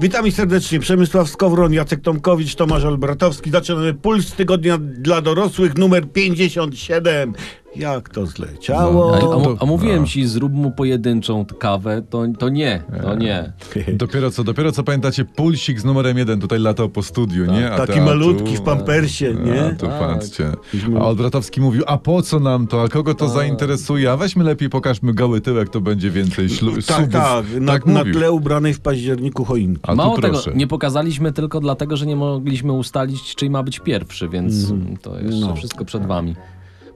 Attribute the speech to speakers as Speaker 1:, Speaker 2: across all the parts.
Speaker 1: Witamy serdecznie. Przemysław Skowron, Jacek Tomkowicz, Tomasz Olbratowski. Zaczynamy Puls Tygodnia dla Dorosłych numer 57. Jak to zleciało.
Speaker 2: No,
Speaker 3: A,
Speaker 2: To-
Speaker 3: a, mu-
Speaker 2: to-
Speaker 3: a mówiłem ci, zrób mu pojedynczą kawę, to, to nie, to nie.
Speaker 2: Dopiero co, dopiero co pamiętacie, pulsik z numerem jeden tutaj latał po studiu, nie? A
Speaker 1: Taki
Speaker 2: ta-
Speaker 1: malutki w
Speaker 2: tu-
Speaker 1: pampersie,
Speaker 2: A,
Speaker 1: nie?
Speaker 2: tu
Speaker 3: Tak.
Speaker 2: patrzcie. A Odbratowski mówił, a po co nam to, a kogo to zainteresuje, a weźmy lepiej pokażmy goły tyłek, to będzie więcej ślu-
Speaker 1: Tak,
Speaker 2: subów.
Speaker 1: tak. Na,
Speaker 2: tak
Speaker 1: na
Speaker 2: mówił.
Speaker 1: tle ubranej w październiku choinki.
Speaker 2: A
Speaker 3: Mało
Speaker 2: tu
Speaker 3: tego,
Speaker 2: proszę.
Speaker 3: nie pokazaliśmy tylko dlatego, że nie mogliśmy ustalić, czyj ma być pierwszy, więc
Speaker 2: Mhm.
Speaker 3: to jeszcze
Speaker 1: No.
Speaker 3: wszystko przed wami.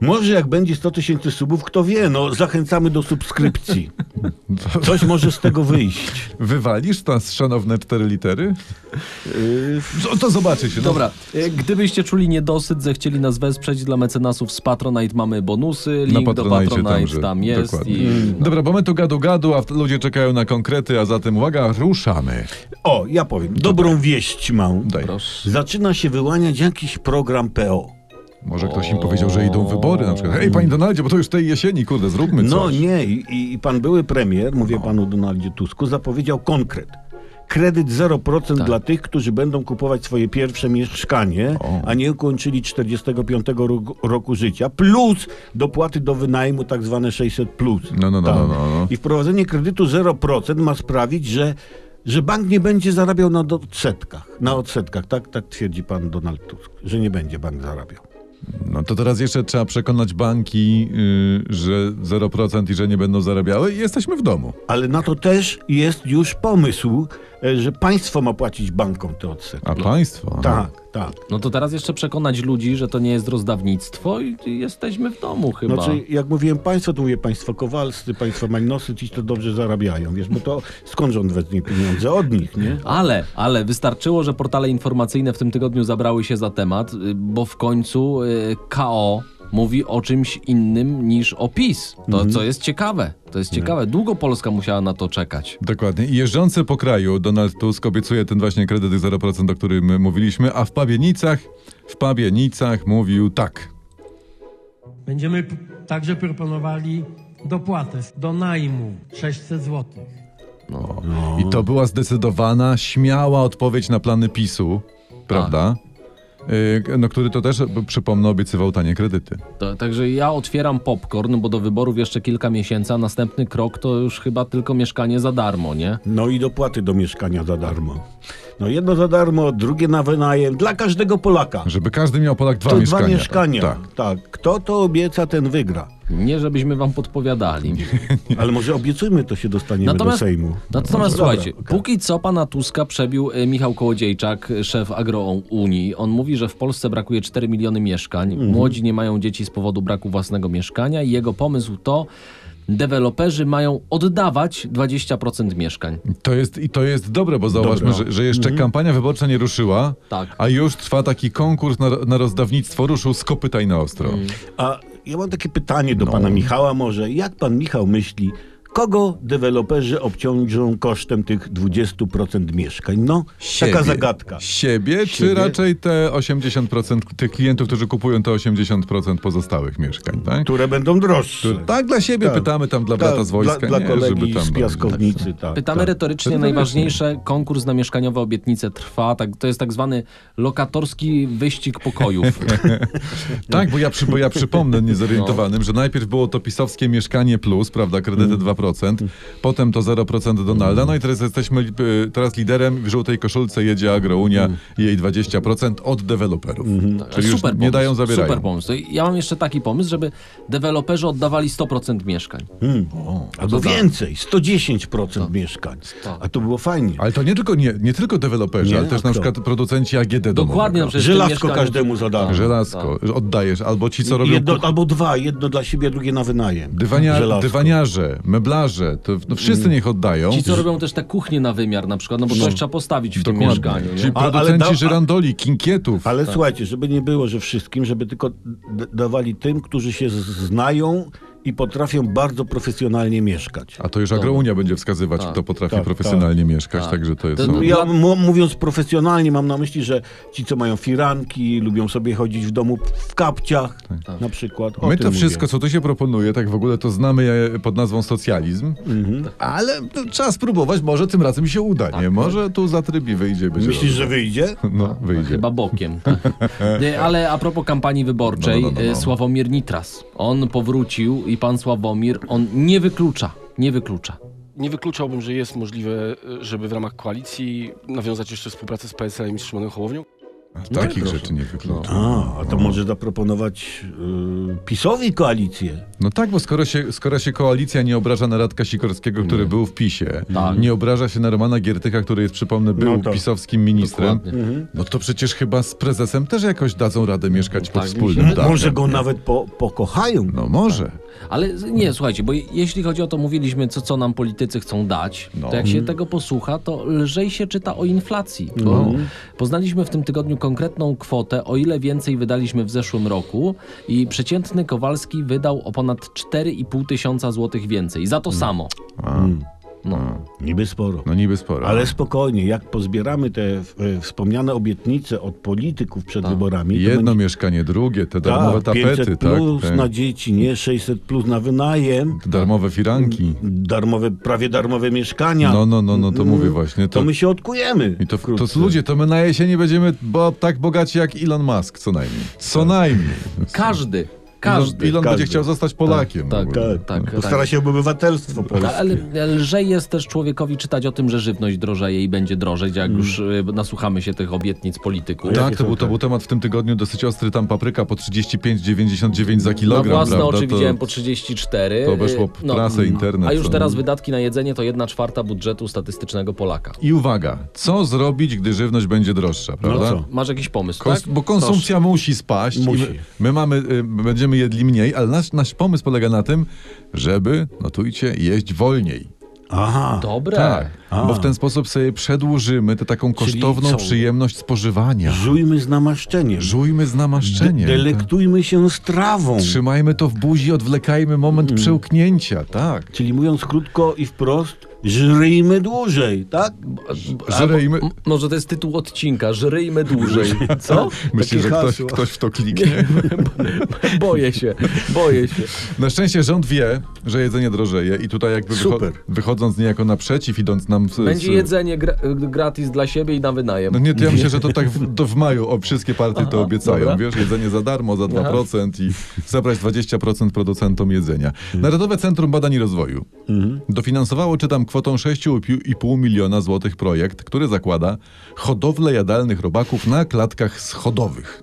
Speaker 1: Może jak będzie 100 tysięcy subów, kto wie, no zachęcamy do subskrypcji. Coś może z tego wyjść.
Speaker 2: Wywalisz nas, szanowne cztery litery?
Speaker 1: Yy,
Speaker 2: To, to zobaczy się. no.
Speaker 3: Dobra, e, gdybyście czuli niedosyt, zechcieli nas wesprzeć dla mecenasów z Patronite mamy bonusy, link do
Speaker 2: Patronite
Speaker 3: Patronite tam,
Speaker 2: że-
Speaker 3: jest
Speaker 2: dokładnie. Mhm.
Speaker 3: i...
Speaker 2: Dobra, bo my tu gadu-gadu, a ludzie czekają na konkrety, a zatem uwaga, ruszamy.
Speaker 1: O, ja powiem. Dobrą wieść mam.
Speaker 2: Daj.
Speaker 3: Proszę.
Speaker 1: Zaczyna się wyłaniać jakiś program PO.
Speaker 2: Może ktoś im powiedział, że idą wybory na przykład. Hej, panie Donaldzie, bo to już tej jesieni, kurde, zróbmy coś. No.
Speaker 1: No nie, i, i pan były premier, mówię panu Donaldzie Tusku, zapowiedział konkret. Kredyt 0%
Speaker 2: Tak.
Speaker 1: dla tych, którzy będą kupować swoje pierwsze mieszkanie,
Speaker 2: O.
Speaker 1: a nie ukończyli 45 roku, roku życia, plus dopłaty do wynajmu, tak zwane 600. Plus, Tak.
Speaker 2: No, no, no, no, no, no.
Speaker 1: I wprowadzenie kredytu 0% ma sprawić, że, że bank nie będzie zarabiał na odsetkach. Na odsetkach, tak, tak twierdzi pan Donald Tusk, że nie będzie bank zarabiał.
Speaker 2: No to teraz jeszcze trzeba przekonać banki, yy, że 0% i że nie będą zarabiały i jesteśmy w domu.
Speaker 1: Ale na to też jest już pomysł, e, że państwo ma płacić bankom te odsetki.
Speaker 2: A państwo?
Speaker 1: Tak, tak.
Speaker 3: No to teraz jeszcze przekonać ludzi, że to nie jest rozdawnictwo i i jesteśmy w domu chyba.
Speaker 1: Znaczy, jak mówiłem państwo, to mówię państwo Kowalscy, państwo Mańnosy, ci to dobrze zarabiają, wiesz, bo to skąd rząd weźmie pieniądze? Od nich, nie?
Speaker 3: Ale, ale wystarczyło, że portale informacyjne w tym tygodniu zabrały się za temat, y, bo w końcu y, KO mówi o czymś innym niż o PiS. To, co jest ciekawe. To jest ciekawe. Długo Polska musiała na to czekać.
Speaker 2: Dokładnie. I jeżdżący po kraju Donald Tusk obiecuje ten właśnie kredyt 0%, o którym mówiliśmy, a w Pawienicach, w Pawienicach mówił tak.
Speaker 4: Będziemy p- także proponowali dopłatę do najmu 600 zł.
Speaker 2: I to była zdecydowana, śmiała odpowiedź na plany PiSu, prawda? Yy, no, który to też, b- przypomnę, obiecywał tanie kredyty.
Speaker 3: To, także ja otwieram popcorn, bo do wyborów jeszcze kilka miesięcy, a następny krok to już chyba tylko mieszkanie za darmo, nie?
Speaker 1: No i dopłaty do mieszkania za darmo. No jedno za darmo, drugie na wynajem, dla każdego Polaka.
Speaker 2: Żeby każdy miał Polak dwa
Speaker 1: To
Speaker 2: mieszkania.
Speaker 1: dwa mieszkania.
Speaker 2: Tak.
Speaker 1: Tak, Kto to obieca, ten wygra.
Speaker 3: Nie, żebyśmy wam podpowiadali.
Speaker 1: Ale może obiecujmy, to się dostaniemy do Sejmu. No,
Speaker 3: Natomiast
Speaker 1: Dobra,
Speaker 3: słuchajcie,
Speaker 1: okej.
Speaker 3: póki co pana Tuska przebił e, Michał Kołodziejczak, e, szef Agrounii. On mówi, że w Polsce brakuje 4 miliony mieszkań. Młodzi nie mają dzieci z powodu braku własnego mieszkania i jego pomysł to deweloperzy mają oddawać 20% mieszkań.
Speaker 2: To jest, I to jest dobre, bo zauważmy,
Speaker 1: Dobra. Mhm.
Speaker 2: że, że jeszcze kampania wyborcza nie ruszyła,
Speaker 3: Tak.
Speaker 2: a już trwa taki konkurs na, na rozdawnictwo, ruszył z kopytaj na ostro.
Speaker 1: A ja mam takie pytanie do pana Michała może. Jak pan Michał myśli, kogo deweloperzy obciążą kosztem tych 20% mieszkań? No, taka zagadka.
Speaker 2: Siebie,
Speaker 1: Siebie.
Speaker 2: czy raczej te 80% tych klientów, którzy kupują te 80% pozostałych mieszkań, tak?
Speaker 1: Które będą droższe.
Speaker 2: Tak dla siebie
Speaker 1: Tak.
Speaker 2: pytamy tam dla brata z wojska,
Speaker 1: Dla,
Speaker 2: nie?
Speaker 1: dla kolegi
Speaker 2: żeby tam
Speaker 1: z
Speaker 2: bardziej-
Speaker 1: piaskownicy, tak.
Speaker 3: Pytamy
Speaker 1: tak.
Speaker 3: retorycznie, najważniejsze, konkurs na mieszkaniowe obietnice trwa, tak, to jest tak zwany lokatorski wyścig pokojów.
Speaker 2: Tak, bo ja, przy, bo ja przypomnę
Speaker 3: No.
Speaker 2: niezorientowanym, że najpierw było to pisowskie mieszkanie plus, prawda, kredyty
Speaker 3: Mhm.
Speaker 2: 2%, potem to 0% Donalda, no i teraz jesteśmy y, teraz liderem, w żółtej koszulce jedzie Agrounia i jej 20% od deweloperów. Czyli już nie dają, zabierają.
Speaker 3: Mhm. Super pomysł. Ja mam jeszcze taki pomysł, żeby deweloperzy oddawali 100% mieszkań.
Speaker 1: Albo
Speaker 3: to tak.
Speaker 1: więcej, 110% mieszkań. A to było fajnie.
Speaker 2: Ale to nie tylko, nie, nie tylko deweloperzy,
Speaker 1: Nie,
Speaker 2: ale
Speaker 1: a
Speaker 2: też na
Speaker 1: kto?
Speaker 2: przykład producenci AGD
Speaker 3: Dokładnie.
Speaker 2: domowego.
Speaker 3: no przecież w tym
Speaker 1: Żelazko
Speaker 3: mieszkaniu-
Speaker 1: każdemu za darmo.
Speaker 3: Tak,
Speaker 2: Żelazko, że oddajesz, albo ci, co robią
Speaker 1: Jedno,
Speaker 2: kuch-
Speaker 1: albo dwa, jedno dla siebie, drugie na wynajem.
Speaker 2: dywania,
Speaker 1: Żelazko.
Speaker 2: dywaniarze, meblarze, to no, wszyscy niech oddają.
Speaker 3: Mm. Ci, co robią też te kuchnie na wymiar na przykład, no bo coś trzeba postawić w tym
Speaker 2: Dokładnie.
Speaker 3: mieszkaniu. Nie?
Speaker 2: Czyli
Speaker 1: A- ale
Speaker 2: producenci
Speaker 1: dał- a-
Speaker 2: żyrandoli, kinkietów.
Speaker 1: Ale słuchajcie, żeby nie było, że wszystkim, żeby tylko d- dawali tym, którzy się z- znają i i potrafią bardzo profesjonalnie mieszkać.
Speaker 2: A to już agrounia będzie wskazywać,
Speaker 3: Tak.
Speaker 2: kto potrafi
Speaker 1: Tak,
Speaker 2: profesjonalnie mieszkać,
Speaker 3: Tak.
Speaker 2: także to jest...
Speaker 3: To-
Speaker 2: no.
Speaker 1: Ja mu- mówiąc profesjonalnie, mam na myśli, że ci, co mają firanki, lubią sobie chodzić w domu w kapciach na przykład. O
Speaker 2: Tak. My
Speaker 1: tym
Speaker 2: to wszystko,
Speaker 1: mówię.
Speaker 2: co tu się proponuje, tak w ogóle to znamy e, pod nazwą socjalizm,
Speaker 1: Mhm.
Speaker 2: ale to trzeba spróbować, może tym razem się uda,
Speaker 3: Tak.
Speaker 2: nie? Może tu za trybi wyjdzie. Będzie
Speaker 1: Myślisz,
Speaker 2: dobrze.
Speaker 1: że wyjdzie?
Speaker 2: No, wyjdzie.
Speaker 3: Chyba bokiem. Nie, Ale a propos kampanii wyborczej,
Speaker 2: No, no, no, no.
Speaker 3: e, Sławomir Nitras. On powrócił i pan Sławomir, on nie wyklucza, nie wyklucza.
Speaker 5: Nie wykluczałbym, że jest możliwe, y, żeby w ramach koalicji nawiązać jeszcze współpracę z PSL-em i z Szymonem Hołownią.
Speaker 2: Takich
Speaker 5: proszę.
Speaker 2: rzeczy nie wyklucza.
Speaker 3: No.
Speaker 1: A, a to może zaproponować y, PiSowi koalicję.
Speaker 2: No tak, bo skoro się, skoro się koalicja nie obraża na Radka Sikorskiego, który był w PiSie,
Speaker 3: Tak.
Speaker 2: nie obraża się na Romana Giertycha, który jest, przypomnę, był
Speaker 1: No Mhm. tak.
Speaker 2: pisowskim ministrem,
Speaker 3: Dokładnie.
Speaker 2: no to przecież chyba z prezesem też jakoś dadzą radę mieszkać pod
Speaker 3: mi się
Speaker 2: wspólnym dachem.
Speaker 1: Może go nawet po, pokochają.
Speaker 2: Tak. No może.
Speaker 3: Ale z- nie, słuchajcie, bo je- jeśli chodzi o to, mówiliśmy, co, co nam politycy chcą dać,
Speaker 2: No.
Speaker 3: to jak się tego posłucha, to lżej się czyta o inflacji. Bo Poznaliśmy w tym tygodniu konkretną kwotę, o ile więcej wydaliśmy w zeszłym roku i przeciętny Kowalski wydał o ponad 4,5 tysiąca złotych więcej. Za to samo.
Speaker 1: Niby sporo.
Speaker 2: No niby sporo.
Speaker 1: Ale spokojnie, jak pozbieramy te e, wspomniane obietnice od polityków przed
Speaker 2: Tak.
Speaker 1: wyborami, to
Speaker 2: Jedno
Speaker 1: będzie-
Speaker 2: mieszkanie, drugie, te darmowe
Speaker 1: Tak,
Speaker 2: tapety,
Speaker 1: 500 plus
Speaker 2: tak, te
Speaker 1: na dzieci, nie 600 plus na wynajem,
Speaker 2: darmowe firanki.
Speaker 1: Mm, darmowe, prawie darmowe mieszkania. Mm,
Speaker 2: No, no, no, no, to mówię właśnie.
Speaker 1: To
Speaker 2: To,
Speaker 1: my się odkujemy.
Speaker 2: i to,
Speaker 1: wkrótce.
Speaker 2: to ludzie, to my na jesieni będziemy bo, tak bogaci jak Elon Musk, co najmniej. Co
Speaker 1: Tak.
Speaker 2: najmniej.
Speaker 3: Każdy,
Speaker 2: Elon,
Speaker 3: każdy.
Speaker 2: Elon
Speaker 1: każdy.
Speaker 2: będzie chciał zostać Polakiem.
Speaker 3: tak,
Speaker 2: w ogóle.
Speaker 1: Tak,
Speaker 3: tak,
Speaker 1: tak.
Speaker 3: tak.
Speaker 1: Postara się o obywatelstwo polskie.
Speaker 3: Ale lżej jest też człowiekowi czytać o tym, że żywność drożeje i będzie drożeć, jak już y, nasłuchamy się tych obietnic polityków.
Speaker 2: Tak, to był, to był temat w tym tygodniu dosyć ostry, tam papryka po 35,99 za
Speaker 3: Na
Speaker 2: kilogram,
Speaker 3: własne
Speaker 2: prawda?
Speaker 3: oczy
Speaker 2: To-
Speaker 3: widziałem po 34.
Speaker 2: to obeszło
Speaker 3: y,
Speaker 2: prasę, internet,
Speaker 3: A już
Speaker 2: no.
Speaker 3: teraz wydatki na jedzenie to 1 czwarta budżetu statystycznego Polaka.
Speaker 2: I uwaga, co zrobić, gdy żywność będzie droższa, prawda?
Speaker 1: No co?
Speaker 3: Masz jakiś pomysł,
Speaker 2: Kons-
Speaker 3: tak?
Speaker 2: Bo konsumpcja musi spaść. i
Speaker 1: Musi.
Speaker 2: My, my mamy, y, będziemy jedli mniej, ale nasz, nasz pomysł polega na tym, żeby, notujcie, jeść wolniej.
Speaker 1: Aha.
Speaker 3: Dobre.
Speaker 2: Tak.
Speaker 1: A.
Speaker 2: Bo w ten sposób sobie przedłużymy tę taką kosztowną
Speaker 3: co?
Speaker 2: przyjemność spożywania.
Speaker 1: Żujmy z namaszczeniem.
Speaker 2: Żujmy z
Speaker 1: De-
Speaker 2: namaszczeniem. tak.
Speaker 1: delektujmy się strawą.
Speaker 2: Trzymajmy to w buzi, odwlekajmy moment przełknięcia, tak.
Speaker 1: Czyli mówiąc krótko i wprost, żryjmy dłużej, tak?
Speaker 2: Żrejmy.
Speaker 3: M- może to jest tytuł odcinka, żryjmy dłużej. Co?
Speaker 2: Myślę, że
Speaker 1: takie
Speaker 2: ktoś,
Speaker 1: hasło.
Speaker 2: ktoś w to kliknie.
Speaker 3: Boję się, boję się.
Speaker 2: Na szczęście rząd wie, że jedzenie drożeje i tutaj jakby wycho-
Speaker 1: Super.
Speaker 2: wychodząc niejako naprzeciw, idąc nam... Z,
Speaker 3: Będzie
Speaker 2: z-
Speaker 3: jedzenie gra- gratis dla siebie i na wynajem.
Speaker 2: No nie, to ja myślę, że to tak w, to w maju o, wszystkie partie to obiecają,
Speaker 3: dobra.
Speaker 2: wiesz, jedzenie za darmo, za 2% i zabrać 20% producentom jedzenia.
Speaker 1: Mhm.
Speaker 2: Narodowe Centrum Badań i Rozwoju dofinansowało, czytam, kwotą 6,5 miliona złotych projekt, który zakłada hodowlę jadalnych robaków na klatkach schodowych.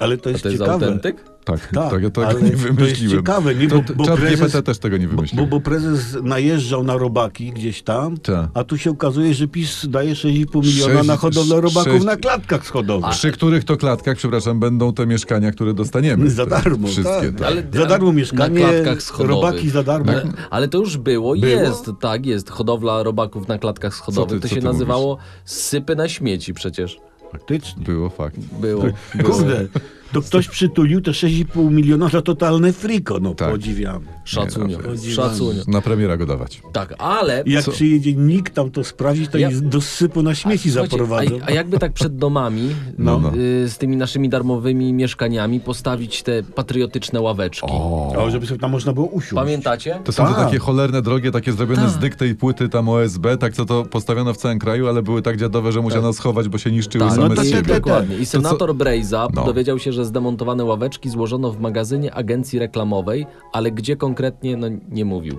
Speaker 1: Ale to
Speaker 3: A
Speaker 1: jest,
Speaker 3: to jest
Speaker 1: ciekawe.
Speaker 3: autentyk?
Speaker 2: Tak,
Speaker 1: Tak,
Speaker 2: tak, tak,
Speaker 1: ale
Speaker 2: nie
Speaker 1: to jest
Speaker 2: wymyśliłem.
Speaker 1: ciekawe, nie,
Speaker 2: To-
Speaker 1: bo- bo
Speaker 2: Czat
Speaker 1: prezes-
Speaker 2: GPT też tego nie
Speaker 1: Bo,
Speaker 2: wymyślił.
Speaker 1: bo prezes najeżdżał na robaki gdzieś tam,
Speaker 2: Tak.
Speaker 1: a tu się okazuje, że PiS daje 6,5 miliona
Speaker 2: Sześć-
Speaker 1: na hodowlę robaków
Speaker 2: sześć-
Speaker 1: na klatkach schodowych.
Speaker 2: Przy których to klatkach, przepraszam, będą te mieszkania, które dostaniemy.
Speaker 1: Za darmo,
Speaker 2: Wszystkie,
Speaker 1: tak.
Speaker 2: tak.
Speaker 3: Ale-
Speaker 1: Za darmo
Speaker 3: na
Speaker 1: mieszkanie,
Speaker 3: klatkach schodowych.
Speaker 1: robaki za darmo.
Speaker 3: Ale, ale to już było,
Speaker 1: Było?
Speaker 3: jest, tak, jest. Hodowla robaków na klatkach schodowych.
Speaker 2: ty-
Speaker 3: to
Speaker 2: co
Speaker 3: się
Speaker 2: ty
Speaker 3: nazywało sypy na śmieci przecież.
Speaker 1: Faktycznie.
Speaker 2: Było fakt.
Speaker 3: Było. było.
Speaker 1: Kurde, to ktoś przytulił te 6,5 miliona za totalne friko, no
Speaker 2: Tak.
Speaker 1: podziwiam.
Speaker 3: Szacunio,
Speaker 1: dobrze.
Speaker 3: szacunio.
Speaker 2: Na premiera go dawać.
Speaker 3: Tak, ale...
Speaker 1: I Jak przyjedzie nikt tam to sprawdzić, to
Speaker 3: Ja-
Speaker 1: ich do sypu na śmieci
Speaker 3: Słuchajcie,
Speaker 1: zaprowadzą.
Speaker 3: A, a jakby tak przed domami,
Speaker 2: No, no.
Speaker 3: y, z tymi naszymi darmowymi mieszkaniami, postawić te patriotyczne ławeczki.
Speaker 1: O, żeby sobie tam można było usiąść.
Speaker 3: Pamiętacie?
Speaker 2: To są te
Speaker 1: Tak.
Speaker 2: takie cholerne drogie, takie zrobione
Speaker 3: Tak.
Speaker 2: z dykty i płyty tam OSB, tak co to postawiono w całym kraju, ale były tak dziadowe, że musiano schować, bo się niszczyły
Speaker 3: Tak,
Speaker 2: same
Speaker 1: no to
Speaker 2: z
Speaker 3: i,
Speaker 1: te-
Speaker 2: siebie.
Speaker 1: te-
Speaker 3: dokładnie. I
Speaker 2: co-
Speaker 3: senator Brejza
Speaker 2: No.
Speaker 3: dowiedział się, że zdemontowane ławeczki złożono w magazynie agencji reklamowej, ale gdzie konkretnie, no nie mówił.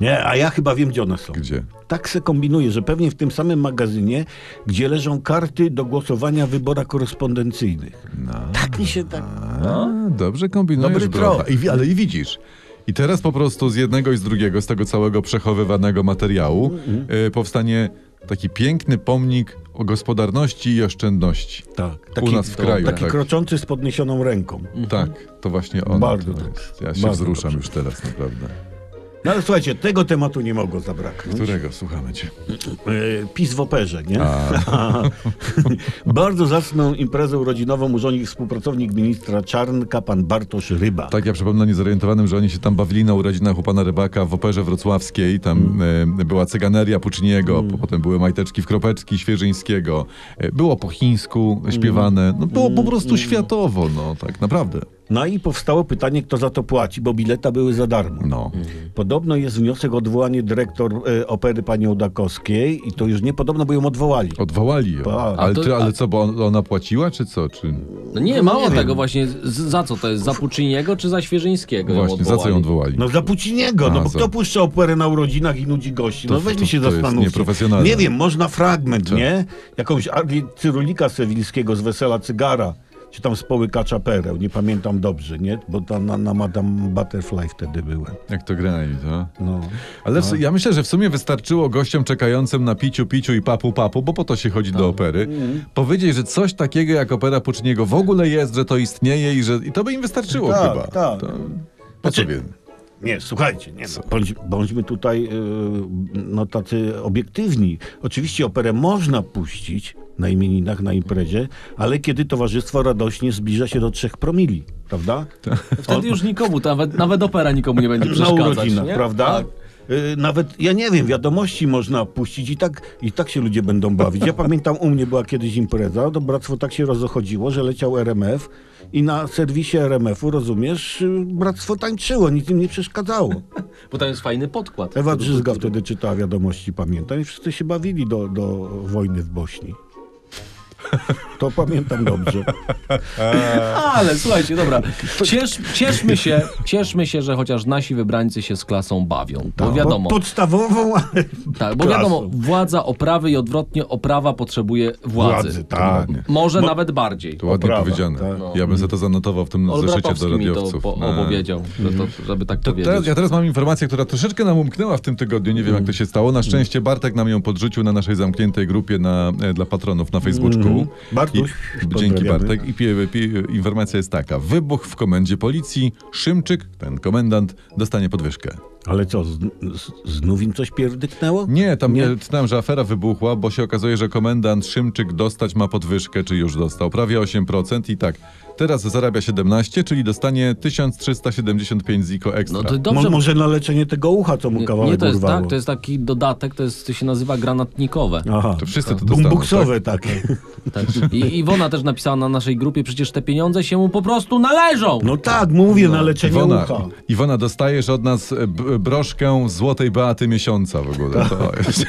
Speaker 1: Nie, a ja chyba wiem, gdzie one są.
Speaker 2: Gdzie?
Speaker 1: Tak se kombinuję, że pewnie w tym samym magazynie, gdzie leżą karty do głosowania w wyborach korespondencyjnych. Tak mi się tak...
Speaker 2: A, dobrze kombinujesz,
Speaker 1: Dobry
Speaker 2: broda.
Speaker 1: trop.
Speaker 2: I, wi- Ale i widzisz. I teraz po prostu z jednego i z drugiego, z tego całego przechowywanego materiału
Speaker 1: Mm,
Speaker 2: y, powstanie taki piękny pomnik o gospodarności i oszczędności.
Speaker 1: Tak.
Speaker 2: U nas w kraju.
Speaker 1: Taki
Speaker 2: tak.
Speaker 1: kroczący z podniesioną ręką.
Speaker 2: tak, to właśnie on.
Speaker 1: Mhm. Bardzo
Speaker 2: to
Speaker 1: dobrze.
Speaker 2: jest. Ja się
Speaker 1: Bardzo
Speaker 2: wzruszam
Speaker 1: dobrze.
Speaker 2: już teraz, naprawdę.
Speaker 1: No ale słuchajcie, tego tematu nie mogło zabraknąć.
Speaker 2: Którego? Słuchamy cię.
Speaker 1: E, PiS w operze, nie? Bardzo zacną imprezę rodzinową urządził współpracownik ministra Czarnka, pan Bartosz Ryba.
Speaker 2: Tak, ja przypomnę niezorientowanym, że oni się tam bawili na urodzinach u pana Rybaka w Operze Wrocławskiej. Tam
Speaker 3: Mm.
Speaker 2: e, była cyganeria Puczniego, potem były majteczki w kropeczki Świeżyńskiego. E, było po chińsku
Speaker 3: Mm.
Speaker 2: śpiewane. No, było po prostu światowo, no tak naprawdę.
Speaker 1: No i powstało pytanie, kto za to płaci, bo bileta były za darmo.
Speaker 2: No.
Speaker 3: Mm.
Speaker 1: Podobno jest wniosek o odwołanie dyrektor e, opery pani Ołdakowskiej i to już niepodobno, bo ją odwołali.
Speaker 2: Odwołali ją.
Speaker 1: Tak.
Speaker 2: Ale,
Speaker 3: A to-
Speaker 2: ty, ale
Speaker 3: a-
Speaker 2: co, bo on- ona płaciła, czy co? Czy...
Speaker 3: No nie, mało tego właśnie. Z, za co to jest? Za Pucciniego czy za Świeżyńskiego? ją
Speaker 2: Właśnie, za co ją
Speaker 3: odwołali?
Speaker 2: odwołali?
Speaker 1: No za Puciniego,
Speaker 2: A,
Speaker 1: no bo
Speaker 2: za-
Speaker 1: kto puszcza operę na urodzinach i nudzi gości? No
Speaker 2: To-
Speaker 1: weźmy
Speaker 2: to-
Speaker 1: się
Speaker 2: to jest
Speaker 1: zastanówmy.
Speaker 2: nieprofesjonalne.
Speaker 1: Nie wiem, można fragment, nie? Jakąś Arli Cyrulika Sewilskiego z Wesela Cygara, czy tam z Połykacza Pereł, nie pamiętam dobrze, nie? Bo tam na, na Madame Butterfly wtedy byłem.
Speaker 2: Jak to grali, tak? to?
Speaker 1: No.
Speaker 2: Ale w, ja myślę, że w sumie wystarczyło gościom czekającym na piciu, piciu i papu, papu, bo po to się chodzi
Speaker 1: No.
Speaker 2: do opery,
Speaker 1: Mhm.
Speaker 2: powiedzieć, że coś takiego jak opera Puczniego w ogóle jest, że to istnieje i że i to by im wystarczyło
Speaker 1: Tak,
Speaker 2: chyba.
Speaker 1: tak.
Speaker 2: To, po
Speaker 1: Znaczy-
Speaker 2: co wiem?
Speaker 1: Nie, słuchajcie, nie, no, bądź, bądźmy tutaj yy, no, tacy obiektywni. Oczywiście operę można puścić na imieninach, na imprezie, ale kiedy towarzystwo radośnie zbliża się do trzech promili, prawda?
Speaker 3: Wtedy już nikomu, nawet, nawet opera nikomu nie będzie
Speaker 1: na
Speaker 3: przeszkadzać.
Speaker 1: urodzinach,
Speaker 3: nie? Tak.
Speaker 1: prawda? Y, Nawet, ja nie wiem, wiadomości można puścić i tak, i tak się ludzie będą bawić. Ja pamiętam, u mnie była kiedyś impreza, to bractwo tak się rozochodziło, że leciał RMF i na serwisie RMF-u, rozumiesz, y, bractwo tańczyło, nic im nie przeszkadzało.
Speaker 3: Bo tam jest fajny podkład.
Speaker 1: Ewa Drzyzga wtedy czytała wiadomości, pamiętam, i wszyscy się bawili do, do wojny w Bośni. To pamiętam dobrze.
Speaker 3: Ale słuchajcie, dobra. Ciesz, cieszmy, się, cieszmy się, że chociaż nasi wybrańcy się z klasą bawią. Bo No wiadomo,
Speaker 1: Tak, Pod- Podstawową, ale
Speaker 3: tak, bo
Speaker 1: klasą.
Speaker 3: wiadomo władza oprawy i odwrotnie oprawa potrzebuje władzy.
Speaker 1: władzy, tak.
Speaker 2: Ładnie.
Speaker 3: Może nawet bardziej.
Speaker 2: To ładnie
Speaker 1: Oprawa,
Speaker 2: powiedziane.
Speaker 1: tak.
Speaker 2: Ja bym za to zanotował w tym zeszycie do
Speaker 3: Olbratowski mi to
Speaker 2: radiowców.
Speaker 3: po-
Speaker 1: E,
Speaker 2: No.
Speaker 3: opowiedział, że to, żeby tak
Speaker 2: To
Speaker 3: powiedzieć.
Speaker 2: teraz, ja teraz mam informację, która troszeczkę nam umknęła w tym tygodniu. Nie wiem, jak to się stało.
Speaker 1: Mm.
Speaker 2: Na szczęście Bartek nam ją podrzucił na naszej zamkniętej grupie na, e, dla patronów na Facebooku.
Speaker 1: Mhm. Bartuś,
Speaker 2: I, dzięki
Speaker 1: pozdrawiamy.
Speaker 2: Bartek. I pie, pie, informacja jest taka. Wybuch w komendzie policji. Szymczyk, ten komendant, dostanie podwyżkę.
Speaker 1: Ale co, z, z, znów im coś pierdyknęło?
Speaker 2: Nie, tam
Speaker 1: Nie?
Speaker 2: nie. czytałem, że afera wybuchła, bo się okazuje, że komendant Szymczyk dostać ma podwyżkę, czy już dostał. Prawie 8% i tak. Teraz zarabia 17, czyli dostanie 1375 ziko ekstra.
Speaker 3: No to
Speaker 1: Mo,
Speaker 3: dobrze.
Speaker 1: może na leczenie tego ucha, co mu tak. kawałek
Speaker 3: nie, to jest
Speaker 1: urwało.
Speaker 3: tak, to jest taki dodatek, to, jest, to się nazywa granatnikowe.
Speaker 1: Aha,
Speaker 2: To wszyscy to dostaną,
Speaker 1: bumbuksowe takie.
Speaker 3: Tak. I Iwona też napisała na naszej grupie, przecież te pieniądze się mu po prostu należą.
Speaker 1: No tak, mówię, na leczenie
Speaker 2: Iwona,
Speaker 1: ucha.
Speaker 2: Iwona, dostajesz od nas e, b- broszkę Złotej Beaty Miesiąca w ogóle. To jest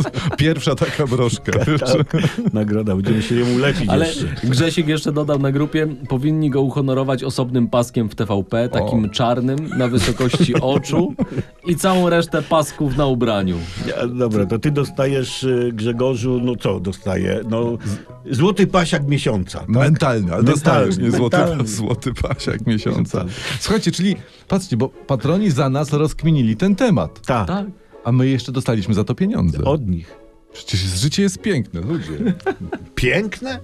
Speaker 2: pierwsza taka broszka.
Speaker 1: tak. Nagroda, będziemy się jemu leczyć
Speaker 3: Ale
Speaker 1: jeszcze.
Speaker 3: Grzesiek jeszcze dodał na grupie, powinni go uhonorować osobnym paskiem w TVP, takim
Speaker 2: O.
Speaker 3: czarnym na wysokości oczu i całą resztę pasków na ubraniu.
Speaker 1: Ja, dobra, to ty dostajesz, y, Grzegorzu, no co dostaję? No, złoty pasiak miesiąca. tak?
Speaker 2: No. Mentalny, ale
Speaker 1: Mentalny,
Speaker 2: dostajesz, nie złoty,
Speaker 1: mentalny.
Speaker 2: złoty pasiak miesiąca. Słuchajcie, czyli patrzcie, bo patroni za nas rozkminili ten temat,
Speaker 1: Tak,
Speaker 3: Tak.
Speaker 2: a my jeszcze dostaliśmy za to pieniądze.
Speaker 1: od nich.
Speaker 2: Przecież życie jest piękne, ludzie.
Speaker 1: Piękne?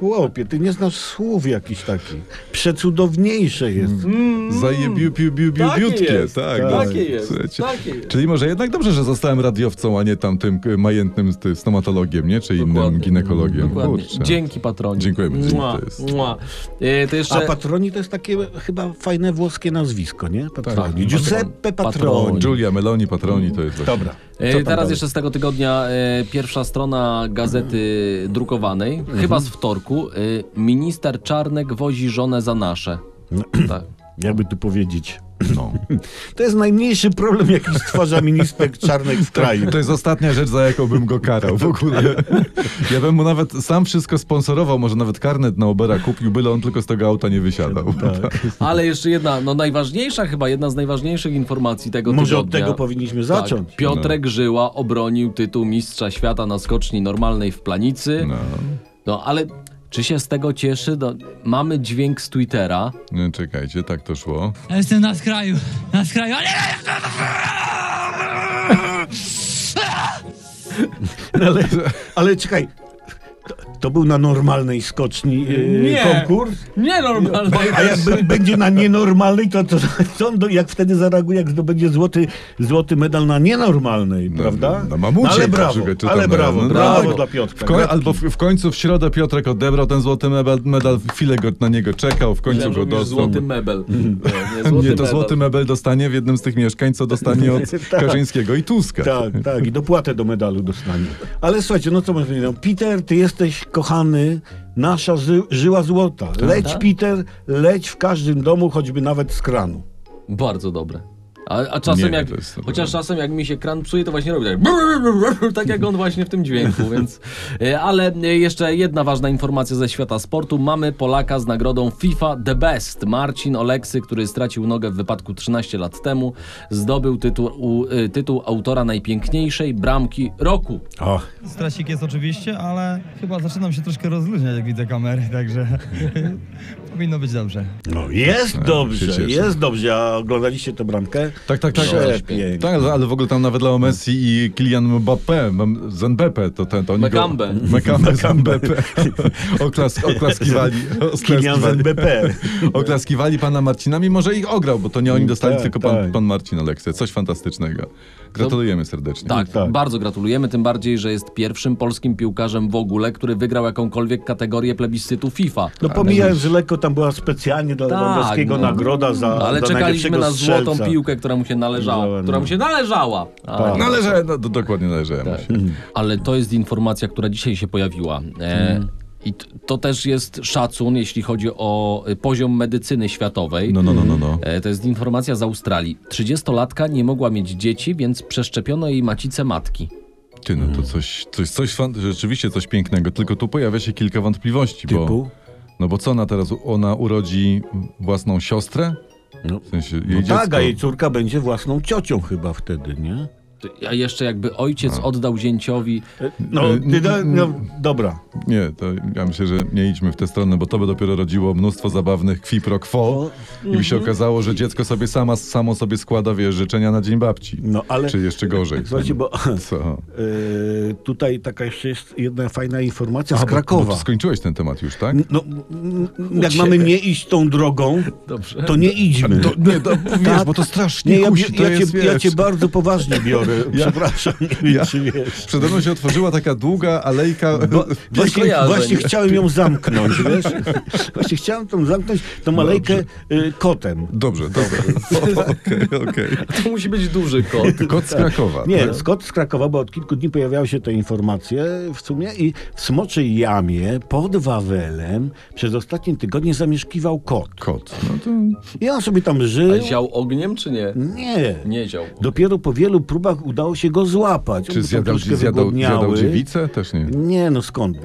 Speaker 1: Chłopie, ty nie znasz słów jakichś takich. Przecudowniejsze jest.
Speaker 3: Mm.
Speaker 2: Mm. Zajebiu, piu, biu, biu,
Speaker 3: Takie
Speaker 2: biutkie.
Speaker 3: jest,
Speaker 2: tak,
Speaker 1: takie
Speaker 2: no,
Speaker 3: jest,
Speaker 2: słuchajcie.
Speaker 3: takie jest.
Speaker 2: Czyli może jednak dobrze, że zostałem radiowcą, a nie tam tym e, majętnym ty, stomatologiem, nie? Czy innym
Speaker 3: Dokładnie.
Speaker 2: ginekologiem.
Speaker 3: Dokładnie.
Speaker 2: Kurczę.
Speaker 3: Dzięki patronie.
Speaker 2: Dziękujemy, dzięki,
Speaker 3: Mua,
Speaker 2: to jest-
Speaker 3: mua. E, to jeszcze...
Speaker 1: A patroni to jest takie chyba fajne włoskie nazwisko, nie? Patroni. Giuseppe Patroni.
Speaker 3: Tak. Patroni.
Speaker 2: Giulia Meloni, patroni, to jest właśnie.
Speaker 1: Dobra.
Speaker 3: E,
Speaker 1: Co tam
Speaker 3: Teraz
Speaker 1: dalej?
Speaker 3: jeszcze z tego tygodnia e, pierwsza strona gazety drukowanej,
Speaker 1: Mhm.
Speaker 3: chyba z wtorku. E, minister Czarnek wozi żonę za nasze.
Speaker 1: No.
Speaker 3: Tak.
Speaker 1: Jakby tu powiedzieć.
Speaker 2: No.
Speaker 1: To jest najmniejszy problem, jaki stwarza minister Czarnek
Speaker 3: Tak,
Speaker 1: w kraju.
Speaker 2: To jest ostatnia rzecz, za jaką bym go karał w ogóle. Ja bym mu nawet sam wszystko sponsorował, może nawet karnet na Ubera kupił, byle on tylko z tego auta nie wysiadał.
Speaker 3: Ale jeszcze jedna, no najważniejsza chyba, jedna z najważniejszych informacji tego
Speaker 1: Może od
Speaker 3: tygodnia.
Speaker 1: tego powinniśmy zacząć.
Speaker 3: Tak, Piotrek
Speaker 2: No.
Speaker 3: Żyła obronił tytuł mistrza świata na skoczni normalnej w Planicy.
Speaker 2: No,
Speaker 3: No, ale czy się z tego cieszy? No, mamy dźwięk z Twittera.
Speaker 2: nie, czekajcie, tak to szło.
Speaker 6: Ja jestem na skraju, na skraju, ale...
Speaker 1: Ale, ale czekaj. To, To był na normalnej skoczni yy,
Speaker 7: Nie.
Speaker 1: konkurs?
Speaker 7: Nienormalne.
Speaker 1: A jak b- będzie na nienormalnej, to, to, co on do, jak wtedy zareaguje, jak zdobędzie złoty, złoty medal na nienormalnej, prawda? No
Speaker 2: na mamucie
Speaker 1: ale
Speaker 2: na
Speaker 1: brawo,
Speaker 2: przykład, czy tam
Speaker 1: ale
Speaker 2: na-
Speaker 1: brawo,
Speaker 2: no
Speaker 1: brawo,
Speaker 2: tak.
Speaker 1: dla
Speaker 2: W
Speaker 1: Piotrka.
Speaker 2: koń,
Speaker 1: gratki.
Speaker 2: albo w, w końcu w środę Piotrek odebrał ten złoty medal, medal chwilę go, na niego czekał, w końcu
Speaker 7: Myślałem, że
Speaker 2: go
Speaker 7: mówisz
Speaker 2: dostał.
Speaker 7: złoty mebel. Nie, nie,
Speaker 2: nie, to
Speaker 7: mebel.
Speaker 2: złoty mebel dostanie w jednym z tych mieszkań, co dostanie od
Speaker 1: Tak.
Speaker 2: Kaczyńskiego i Tuska.
Speaker 1: Tak, tak, i dopłatę do medalu dostanie. Ale słuchajcie, no co masz powiedzieć? No, Peter, ty jesteś kochany, nasza ży, żyła złota.
Speaker 2: Tak.
Speaker 1: Leć, Peter, leć w każdym domu, choćby nawet z kranu.
Speaker 7: Bardzo dobre.
Speaker 3: A, a czasem
Speaker 2: Nie,
Speaker 3: jak,
Speaker 2: to jest
Speaker 3: chociaż czasem jak mi się kran psuje, to właśnie robi tak, brr, brr, brr, tak jak on właśnie w tym dźwięku, więc... e, Ale e, jeszcze jedna ważna informacja ze świata sportu. Mamy Polaka z nagrodą FIFA The Best. Marcin Oleksy, który stracił nogę w wypadku 13 lat temu, zdobył tytuł, u, e, tytuł autora najpiękniejszej bramki roku.
Speaker 1: O,
Speaker 8: Stresik jest oczywiście, ale chyba zaczynam się troszkę rozluźniać, jak widzę kamery, także powinno być dobrze.
Speaker 1: no jest
Speaker 2: Tak, się
Speaker 1: dobrze,
Speaker 2: cieszę.
Speaker 1: jest dobrze. A oglądaliście tę bramkę?
Speaker 2: Tak, tak, tak.
Speaker 1: Przepięknie.
Speaker 2: Tak, ale w ogóle tam nawet Leo Messi i Kylian Mbappé, M- Zenbepe, to ten, to oni go-
Speaker 7: Mekambe.
Speaker 2: Mekambe, Zenbepe. Oklas, oklaskiwali.
Speaker 1: Kilian z
Speaker 2: oklaskiwali.
Speaker 1: NBP.
Speaker 2: Oklaskiwali pana Marcina, mimo że ich ograł, bo to nie oni dostali,
Speaker 1: tak,
Speaker 2: tylko pan,
Speaker 1: tak.
Speaker 2: pan Marcin Aleksy. Coś fantastycznego. Gratulujemy serdecznie.
Speaker 3: Tak,
Speaker 1: Tak.
Speaker 3: bardzo gratulujemy, tym bardziej, że jest pierwszym polskim piłkarzem w ogóle, który wygrał jakąkolwiek kategorię plebiscytu FIFA.
Speaker 1: No pomijając, że lekko tam była specjalnie dla
Speaker 3: Tak,
Speaker 1: Lewandowskiego
Speaker 3: no.
Speaker 1: nagroda za
Speaker 3: Ale
Speaker 1: za
Speaker 3: czekaliśmy
Speaker 1: najlepszego
Speaker 3: na złotą
Speaker 1: strzelca.
Speaker 3: piłkę, która mu się należała.
Speaker 1: Należała,
Speaker 3: Która
Speaker 1: no. Tak.
Speaker 3: mu się należała. Ale,
Speaker 2: Należe, no, do, dokładnie należałem.
Speaker 3: ale to jest informacja, która dzisiaj się pojawiła. E,
Speaker 1: Hmm.
Speaker 3: I t- to też jest szacun, jeśli chodzi o y, poziom medycyny światowej.
Speaker 2: No, no, no, no. no.
Speaker 3: E, To jest informacja z Australii. 30-latka nie mogła mieć dzieci, więc przeszczepiono jej macicę matki.
Speaker 2: Ty, no
Speaker 1: Hmm.
Speaker 2: to coś, coś, coś fan, rzeczywiście coś pięknego, tylko tu pojawia się kilka wątpliwości, bo...
Speaker 1: Typu?
Speaker 2: No bo co ona teraz, ona urodzi własną siostrę?
Speaker 1: No.
Speaker 2: W sensie jej
Speaker 1: No
Speaker 2: dziecko.
Speaker 1: tak, a jej córka będzie własną ciocią chyba wtedy, nie?
Speaker 3: A jeszcze jakby ojciec oddał zięciowi
Speaker 1: No,
Speaker 2: E,
Speaker 1: ty, da- no dobra.
Speaker 2: Nie, to ja myślę, że nie idźmy w tę stronę, bo to by dopiero rodziło mnóstwo zabawnych kwi pro quo
Speaker 1: No.
Speaker 2: i by się
Speaker 1: Mhm.
Speaker 2: okazało, że dziecko sobie sama, samo sobie składa, wiesz, życzenia na dzień babci.
Speaker 1: No ale
Speaker 2: Czy jeszcze gorzej.
Speaker 1: słuchajcie, bo
Speaker 2: Co? No,
Speaker 1: y, tutaj taka jeszcze jest jedna fajna informacja
Speaker 2: A,
Speaker 1: z
Speaker 2: bo- Bo
Speaker 1: Krakowa.
Speaker 2: ty skończyłeś ten temat już, tak?
Speaker 1: No, mm, jak mamy nie iść tą drogą, to nie idźmy.
Speaker 2: To, nie, to, wiesz,
Speaker 1: Tak.
Speaker 2: bo to strasznie
Speaker 1: Nie, ja,
Speaker 2: kusi, to
Speaker 1: ja,
Speaker 2: jest,
Speaker 1: cię, ja
Speaker 2: wiesz,
Speaker 1: cię bardzo poważnie biorę. Przepraszam, nie
Speaker 2: ja-
Speaker 1: wiem, czy wiesz.
Speaker 2: Przede mną się otworzyła taka długa alejka...
Speaker 1: Właśnie,
Speaker 7: kojarzeń.
Speaker 1: właśnie chciałem ją zamknąć, wiesz? Właśnie chciałem tą zamknąć, tą malejkę y, kotem.
Speaker 2: Dobrze, dobrze. O, Okej, okej.
Speaker 7: To musi być duży kot.
Speaker 2: Kot z
Speaker 1: Tak.
Speaker 2: Krakowa. tak?
Speaker 1: Nie, Scott z Krakowa, bo od kilku dni pojawiały się te informacje w sumie i w Smoczej Jamie pod Wawelem przez ostatnie tygodnie zamieszkiwał kot.
Speaker 2: Kot. No to...
Speaker 1: I on sobie tam
Speaker 3: No.
Speaker 7: A
Speaker 1: żył.
Speaker 7: ział ogniem, czy nie?
Speaker 1: Nie.
Speaker 7: Nie ział.
Speaker 1: Dopiero po wielu próbach udało się go złapać. On
Speaker 2: Czy
Speaker 1: był tam
Speaker 2: zjadał,
Speaker 1: troszkę
Speaker 2: zjadał, zjadał
Speaker 1: wygłodniały.
Speaker 2: dziewicę? Też nie.
Speaker 1: Nie, no skąd?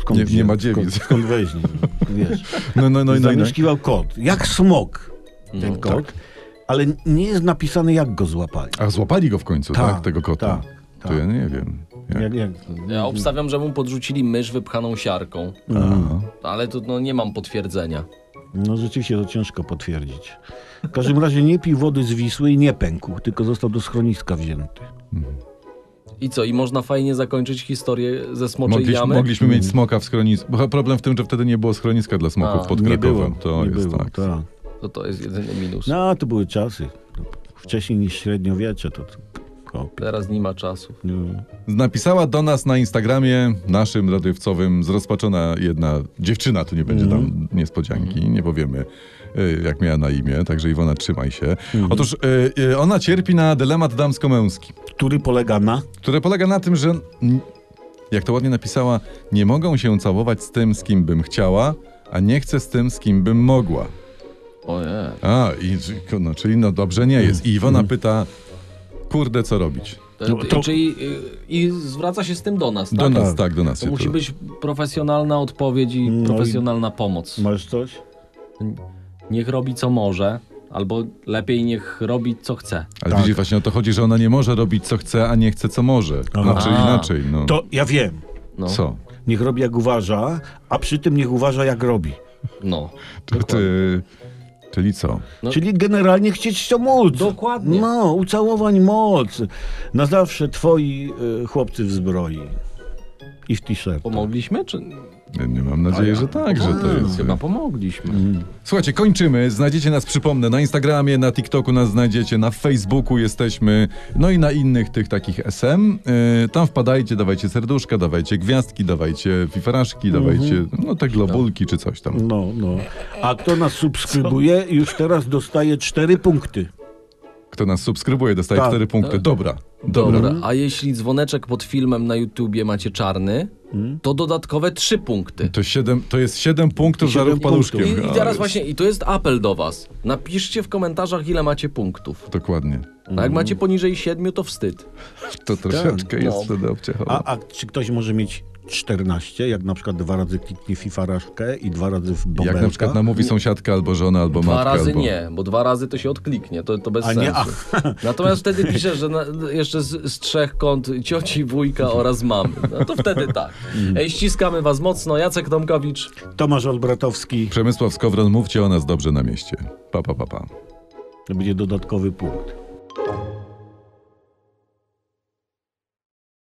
Speaker 1: skąd
Speaker 2: Nie- nie ma
Speaker 1: wziął?
Speaker 2: dziewic.
Speaker 1: Skąd, skąd weźmie? no, Wiesz.
Speaker 2: No, no, no, Mm, tak. no, no.
Speaker 1: Zamieszkiwał kot. Jak smok ten kot. Ale nie jest napisane, jak go złapali.
Speaker 2: A złapali go w końcu, tak?
Speaker 1: Tak,
Speaker 2: tego kota.
Speaker 1: tak,
Speaker 2: To ja nie wiem. Jak?
Speaker 1: Jak, jak?
Speaker 3: Ja obstawiam, że mu podrzucili mysz wypchaną siarką,
Speaker 2: Aha.
Speaker 3: ale to no, nie mam potwierdzenia.
Speaker 1: No rzeczywiście to ciężko potwierdzić. W każdym razie nie pił wody z Wisły i nie pękł, tylko został do schroniska wzięty.
Speaker 3: I co, i można fajnie zakończyć historię ze smoczej
Speaker 2: Mogliśmy,
Speaker 3: jamy?
Speaker 2: mogliśmy
Speaker 1: Mm.
Speaker 2: mieć smoka w schronisku. Bo Problem w tym, że wtedy nie było schroniska dla smoków
Speaker 3: A,
Speaker 2: pod
Speaker 1: nie było,
Speaker 2: Krakowem. To
Speaker 1: nie
Speaker 2: jest
Speaker 1: było,
Speaker 2: tak.
Speaker 1: tak.
Speaker 3: To to jest jedyny minus.
Speaker 1: No to były czasy. Wcześniej niż średniowiecze to... to kopie.
Speaker 3: Teraz nie ma czasu.
Speaker 1: No.
Speaker 2: Napisała do nas na Instagramie naszym radiowcowym zrozpaczona jedna dziewczyna, tu nie będzie
Speaker 3: Mhm.
Speaker 2: tam niespodzianki, nie powiemy y, jak miała na imię, także Iwona trzymaj się.
Speaker 3: Mhm.
Speaker 2: Otóż y, y, ona cierpi na dylemat damsko-męski,
Speaker 1: Który polega na...
Speaker 2: który polega na tym, że mm, jak to ładnie napisała, nie mogą się całować z tym, z kim bym chciała, a nie chcę z tym, z kim bym mogła.
Speaker 3: Ojej.
Speaker 2: A, i, no, czyli no dobrze nie jest.
Speaker 3: Mhm.
Speaker 2: I Iwona pyta, kurde, co robić?
Speaker 1: No, to-
Speaker 3: Czyli y, i zwraca się z tym do nas, tak?
Speaker 2: Do nas, tak, do nas.
Speaker 3: To
Speaker 2: się
Speaker 3: musi
Speaker 2: to-
Speaker 3: być profesjonalna odpowiedź i
Speaker 1: No i-
Speaker 3: profesjonalna pomoc.
Speaker 1: Masz coś?
Speaker 3: Niech robi co może, albo lepiej niech robi co chce.
Speaker 2: Ale
Speaker 1: tak.
Speaker 2: widzisz, właśnie o to chodzi, że ona nie może robić co chce, a nie chce co może.
Speaker 1: Aha.
Speaker 2: Znaczy
Speaker 3: A.
Speaker 2: inaczej, no.
Speaker 1: To ja wiem.
Speaker 3: No,
Speaker 2: Co?
Speaker 1: Niech robi jak uważa, a przy tym niech uważa jak robi.
Speaker 3: no.
Speaker 2: Ty, ty, czyli co?
Speaker 3: No.
Speaker 1: Czyli generalnie chcieć to móc.
Speaker 3: Dokładnie.
Speaker 1: No, ucałowań moc. Na zawsze twoi y, chłopcy w zbroi. i w t-shirt.
Speaker 3: Pomogliśmy? Czy...
Speaker 2: Nie, nie mam nadziei, że tak, że to jest. Mm.
Speaker 3: Chyba pomogliśmy.
Speaker 2: Słuchajcie, kończymy. Znajdziecie nas, przypomnę, na Instagramie, na TikToku nas znajdziecie, na Facebooku jesteśmy, no i na innych tych takich SM. Yy, tam wpadajcie, dawajcie serduszka, dawajcie gwiazdki, dawajcie fifaraszki, dawajcie,
Speaker 1: Mhm.
Speaker 2: no te globulki czy coś tam.
Speaker 1: No, no. A kto nas subskrybuje, już teraz dostaje cztery punkty.
Speaker 2: Kto nas subskrybuje, dostaje
Speaker 1: Tak.
Speaker 2: cztery punkty. Dobra, dobra.
Speaker 3: Dobra, a jeśli dzwoneczek pod filmem na YouTubie macie czarny, to dodatkowe trzy punkty.
Speaker 2: To, siedem, to jest siedem punktów
Speaker 1: Siedem
Speaker 2: za ruch
Speaker 1: punktów.
Speaker 2: paluszkiem.
Speaker 3: I, I
Speaker 2: Ale
Speaker 3: teraz
Speaker 2: jest-
Speaker 3: właśnie, i to jest apel do was. Napiszcie w komentarzach, ile macie punktów.
Speaker 2: Dokładnie.
Speaker 3: A jak macie poniżej siedmiu, to wstyd.
Speaker 2: To troszeczkę
Speaker 3: No.
Speaker 2: jest wtedy obciachowa.
Speaker 1: A, a czy ktoś może mieć 14, jak na przykład dwa razy kliknie FIFA raszkę i dwa razy w bąbelka?
Speaker 2: Jak na przykład namówi sąsiadka albo żona, albo
Speaker 3: Dwa
Speaker 2: matka.
Speaker 3: razy
Speaker 2: albo...
Speaker 3: nie, bo dwa razy to się odkliknie, to, to bez
Speaker 1: A
Speaker 3: sensu.
Speaker 1: nie, a,
Speaker 3: Natomiast wtedy piszesz, że na, jeszcze z, z trzech kąt cioci, wujka oraz mamy. No to wtedy tak.
Speaker 1: Mhm.
Speaker 3: Ej, ściskamy was mocno. Jacek Tomkowicz.
Speaker 1: Tomasz Olbratowski,
Speaker 2: Przemysław Skowron, mówcie o nas dobrze na mieście. Pa, pa, pa, pa.
Speaker 1: to będzie dodatkowy punkt.